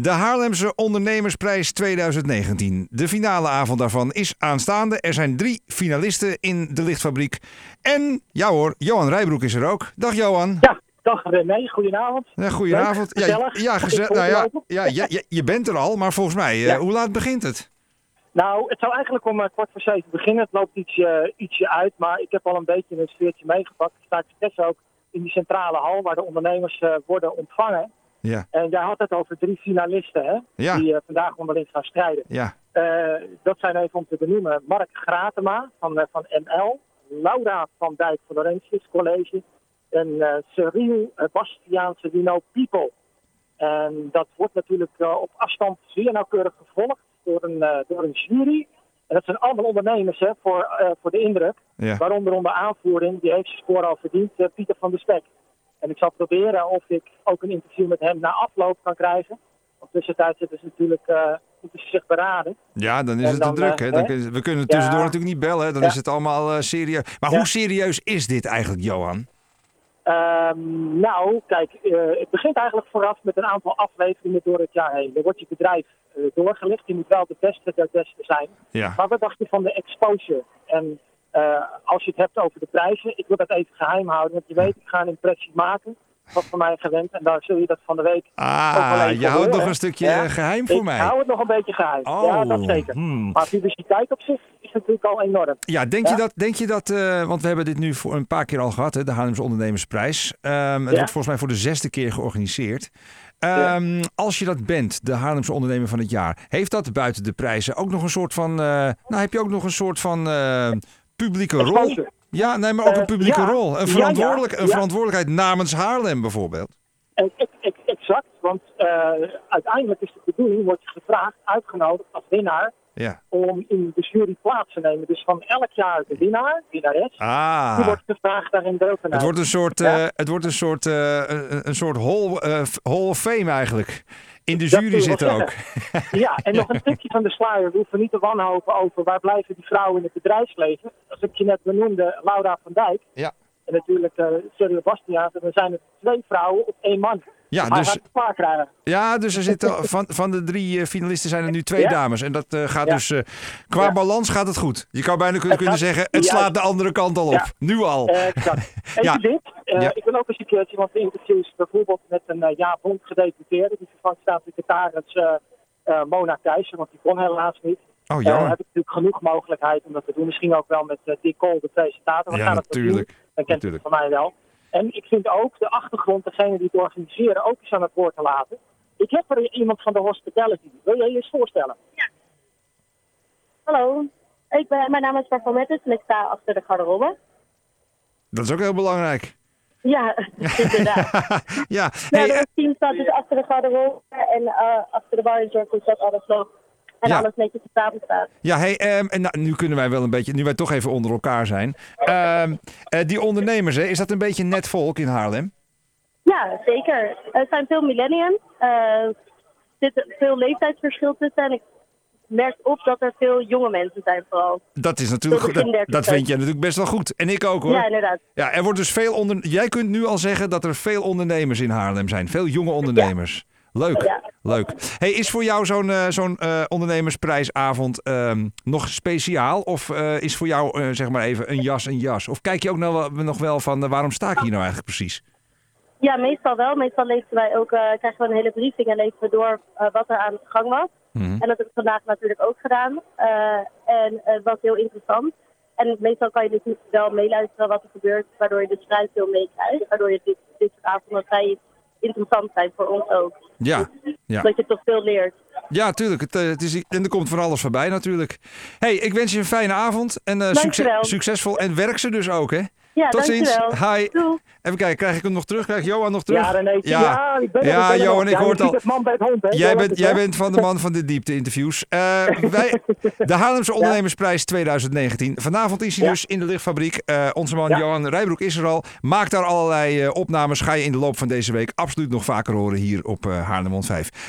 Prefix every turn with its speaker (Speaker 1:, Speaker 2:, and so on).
Speaker 1: De Haarlemse Ondernemersprijs 2019. De finale avond daarvan is aanstaande. Er zijn drie finalisten in de lichtfabriek. En, ja hoor, Johan Rijbroek is er ook. Dag Johan.
Speaker 2: Ja, dag René, goedenavond.
Speaker 1: Ja, goedenavond.
Speaker 2: Leuk,
Speaker 1: ja,
Speaker 2: gezellig.
Speaker 1: ja,
Speaker 2: Ik
Speaker 1: gezellig.
Speaker 2: kom
Speaker 1: Nou, ja,
Speaker 2: lopen.
Speaker 1: ja, ja, ja, je bent er al, maar volgens mij, eh,
Speaker 2: Ja.
Speaker 1: hoe laat begint het?
Speaker 2: Nou, het zou eigenlijk om eh, kwart voor zeven beginnen. Het loopt iets, eh, ietsje uit, maar ik heb al een beetje een sfeertje meegepakt. Ik sta expres ook in die centrale hal waar de ondernemers eh, worden ontvangen.
Speaker 1: Ja,
Speaker 2: En jij had het over drie finalisten hè,
Speaker 1: Ja.
Speaker 2: die eh, vandaag onderling gaan strijden.
Speaker 1: ja,
Speaker 2: Eh, dat zijn even om te benoemen. Mark Gratema van, eh, van ML. Laura van Dijk van Laurentius College. En eh Cyril eh, Bastiaanse Wino People. En dat wordt natuurlijk eh, op afstand zeer nauwkeurig gevolgd door een, eh, door een jury. En dat zijn allemaal ondernemers hè, voor, eh, voor de indruk.
Speaker 1: ja.
Speaker 2: Waaronder onder aanvoering, die heeft zijn score al verdiend, eh, Pieter van der Spek. En ik zal proberen of ik ook een interview met hem na afloop kan krijgen. Want tussentijd zitten ze natuurlijk, eh moeten ze zich beraden.
Speaker 1: Ja, dan is
Speaker 2: En
Speaker 1: het te
Speaker 2: dan,
Speaker 1: druk.
Speaker 2: eh,
Speaker 1: Hè? Dan
Speaker 2: hè?
Speaker 1: kun- we kunnen tussendoor
Speaker 2: Ja.
Speaker 1: natuurlijk niet bellen. Hè? Dan
Speaker 2: Ja.
Speaker 1: is het allemaal eh, serieus. Maar
Speaker 2: Ja.
Speaker 1: hoe serieus is dit eigenlijk, Johan?
Speaker 2: Ehm, nou, kijk, eh, het begint eigenlijk vooraf met een aantal afleveringen door het jaar heen. Dan wordt je bedrijf eh, doorgelicht. Je moet wel de beste der beste zijn.
Speaker 1: Ja,
Speaker 2: Maar wat dacht je van de exposure? En eh, als je het hebt over de prijzen, ik wil dat even geheim houden. Want je weet, ik ga een impressie maken. Wat van mij gewend. En daar zul je dat van de week ook wel
Speaker 1: Ah,
Speaker 2: even
Speaker 1: je houdt
Speaker 2: horen.
Speaker 1: nog een stukje eh,
Speaker 2: Ja.
Speaker 1: geheim voor
Speaker 2: ik
Speaker 1: mij.
Speaker 2: hou het nog een beetje geheim.
Speaker 1: Oh,
Speaker 2: Ja, dat zeker.
Speaker 1: hmm.
Speaker 2: Maar publiciteit op zich is natuurlijk al enorm.
Speaker 1: Ja, denk je
Speaker 2: Ja.
Speaker 1: dat, denk je dat eh, want we hebben dit nu voor een paar keer al gehad, hè, de Haarlemse Ondernemersprijs. Ehm, het
Speaker 2: Ja.
Speaker 1: wordt volgens mij voor de zesde keer georganiseerd.
Speaker 2: Ja.
Speaker 1: Ehm, Als je dat bent, de Haarlemse Ondernemer van het jaar, heeft dat buiten de prijzen ook nog een soort van, eh, nou heb je ook nog een soort van eh, publieke rol?
Speaker 2: Exposure.
Speaker 1: Ja, nee, maar ook
Speaker 2: Eh,
Speaker 1: een publieke
Speaker 2: ja.
Speaker 1: rol.
Speaker 2: Ja,
Speaker 1: Een,
Speaker 2: ja.
Speaker 1: verantwoordelijk, een
Speaker 2: Ja.
Speaker 1: verantwoordelijkheid namens Haarlem bijvoorbeeld.
Speaker 2: En ex- ex- Exact, want eh, uiteindelijk is de bedoeling, wordt je gevraagd, uitgenodigd als winnaar
Speaker 1: Ja.
Speaker 2: om in de jury plaats te nemen. Dus van elk jaar de winnaar, winnares, die
Speaker 1: Ah.
Speaker 2: wordt gevraagd daarin deel te nemen.
Speaker 1: Het wordt een soort,
Speaker 2: Ja.
Speaker 1: eh, het wordt een soort, eh, een, een soort hall, eh, hall of fame eigenlijk. In de
Speaker 2: Dat
Speaker 1: jury
Speaker 2: kun je wel
Speaker 1: zitten ook.
Speaker 2: Ja, en nog een tipje van de sluier. We hoeven niet te wanhopen over waar blijven die vrouwen in het bedrijfsleven. Als ik je net benoemde, Laura van Dijk.
Speaker 1: Ja.
Speaker 2: En natuurlijk eh Sergio Bastiaans. En dan zijn het twee vrouwen op één man.
Speaker 1: Ja,
Speaker 2: Hij
Speaker 1: dus-
Speaker 2: gaat het klaar krijgen.
Speaker 1: Ja, dus er zitten, van, van de drie eh, finalisten zijn er nu twee
Speaker 2: Ja?
Speaker 1: dames. En dat eh, gaat
Speaker 2: Ja.
Speaker 1: dus, eh, qua
Speaker 2: Ja.
Speaker 1: balans gaat het goed. Je zou bijna kunnen,
Speaker 2: Het
Speaker 1: kunnen
Speaker 2: gaat-
Speaker 1: zeggen, het slaat
Speaker 2: juist.
Speaker 1: de andere kant al op.
Speaker 2: Ja. Eh,
Speaker 1: Nu al.
Speaker 2: Exact. Even
Speaker 1: Ja.
Speaker 2: dit. Eh,
Speaker 1: Ja.
Speaker 2: Ik wil ook eens een keertje, want de interviews bijvoorbeeld met een eh, ja bond gedeputeerde, die vervangt staatssecretaris eh eh, Mona Thijssen, want die kon helaas niet.
Speaker 1: oh,
Speaker 2: Dan
Speaker 1: jammer.
Speaker 2: Eh, heb ik natuurlijk genoeg mogelijkheid om dat te doen. Misschien ook wel met eh, Dick Cole, de presentator. We
Speaker 1: Ja,
Speaker 2: gaan dat wel
Speaker 1: natuurlijk.
Speaker 2: doen. Dan kent hij
Speaker 1: Natuurlijk.
Speaker 2: het van mij wel. En ik vind ook de achtergrond, degene die het organiseren, ook eens aan het woord te laten. Ik heb er iemand van de hospitality. Wil jij je eens voorstellen?
Speaker 3: Hallo, ik ben, mijn naam is Parfumettes en ik sta achter de garderobe.
Speaker 1: Dat is ook heel belangrijk.
Speaker 3: Ja, inderdaad.
Speaker 1: ja,
Speaker 3: Ja,
Speaker 1: hey, eh,
Speaker 3: het team staat dus achter de garderobe en eh, achter de bar is er dus dat alles loopt. En
Speaker 1: Ja.
Speaker 3: alles netjes op tafel staat.
Speaker 1: ja, hey, ehm, en nou, nu kunnen wij wel een beetje, nu wij toch even onder elkaar zijn. Ehm, eh, die ondernemers, hè, is dat een beetje net volk in Haarlem?
Speaker 3: Ja, zeker. Er zijn veel millenniums. eh, Er zit veel leeftijdsverschil tussen. En ik merk op dat er veel jonge mensen zijn vooral.
Speaker 1: Dat is natuurlijk
Speaker 3: Tot
Speaker 1: goed.
Speaker 3: begin
Speaker 1: Dat,
Speaker 3: dertig
Speaker 1: dat vind jij natuurlijk best wel goed. En ik ook hoor.
Speaker 3: Ja, inderdaad.
Speaker 1: Ja, er wordt dus veel onder... Jij kunt nu al zeggen dat er veel ondernemers in Haarlem zijn. Veel jonge ondernemers. Leuk,
Speaker 3: Ja.
Speaker 1: leuk. Hey, is voor jou zo'n eh, zo'n eh, ondernemersprijsavond ehm, nog speciaal? Of eh, is voor jou, eh, zeg maar even, een jas een jas? Of kijk je ook nou wel, nog wel van, eh, waarom sta ik hier nou eigenlijk precies?
Speaker 3: Ja, meestal wel. Meestal lezen wij ook, eh, krijgen we een hele briefing en lezen we door eh, wat er aan de gang was.
Speaker 1: Mhm.
Speaker 3: En dat heb ik vandaag natuurlijk ook gedaan. Eh, en eh, het was heel interessant. En meestal kan je natuurlijk wel meeluisteren wat er gebeurt, waardoor je de strijd veel meekrijgt. Waardoor je dit, dit soort avonden vrij interessant zijn voor ons ook.
Speaker 1: Ja, ja.
Speaker 3: Dat je toch veel leert.
Speaker 1: ja tuurlijk. Het, eh, het is, en er komt van alles voorbij natuurlijk. Hey, ik wens je een fijne avond. En eh, succes-
Speaker 3: Dankjewel.
Speaker 1: succesvol. En werk ze dus ook, hè?
Speaker 3: Ja,
Speaker 1: Tot ziens.
Speaker 3: dankjewel.
Speaker 1: Hi.
Speaker 3: Doei.
Speaker 1: Even kijken, krijg ik hem nog terug? Krijg Johan nog terug?
Speaker 2: Ja, René. Ja, ik ben er,
Speaker 1: Ja,
Speaker 2: ik ben er
Speaker 1: Johan,
Speaker 2: nog.
Speaker 1: ik
Speaker 2: Ja, je
Speaker 1: hoor het
Speaker 2: ziet
Speaker 1: al.
Speaker 2: het man bij het hond, hè? Zo
Speaker 1: Jij
Speaker 2: is
Speaker 1: bent,
Speaker 2: het,
Speaker 1: jij
Speaker 2: hè?
Speaker 1: bent van de man van de diepte-interviews. Eh, wij, de Haarlemse Ondernemersprijs 2019. Vanavond is hij
Speaker 2: Ja.
Speaker 1: dus in de lichtfabriek. Eh, onze man
Speaker 2: Ja.
Speaker 1: Johan Rijbroek is er al. Maakt daar allerlei eh, opnames. Ga je in de loop van deze week absoluut nog vaker horen hier op eh Haarlem 5.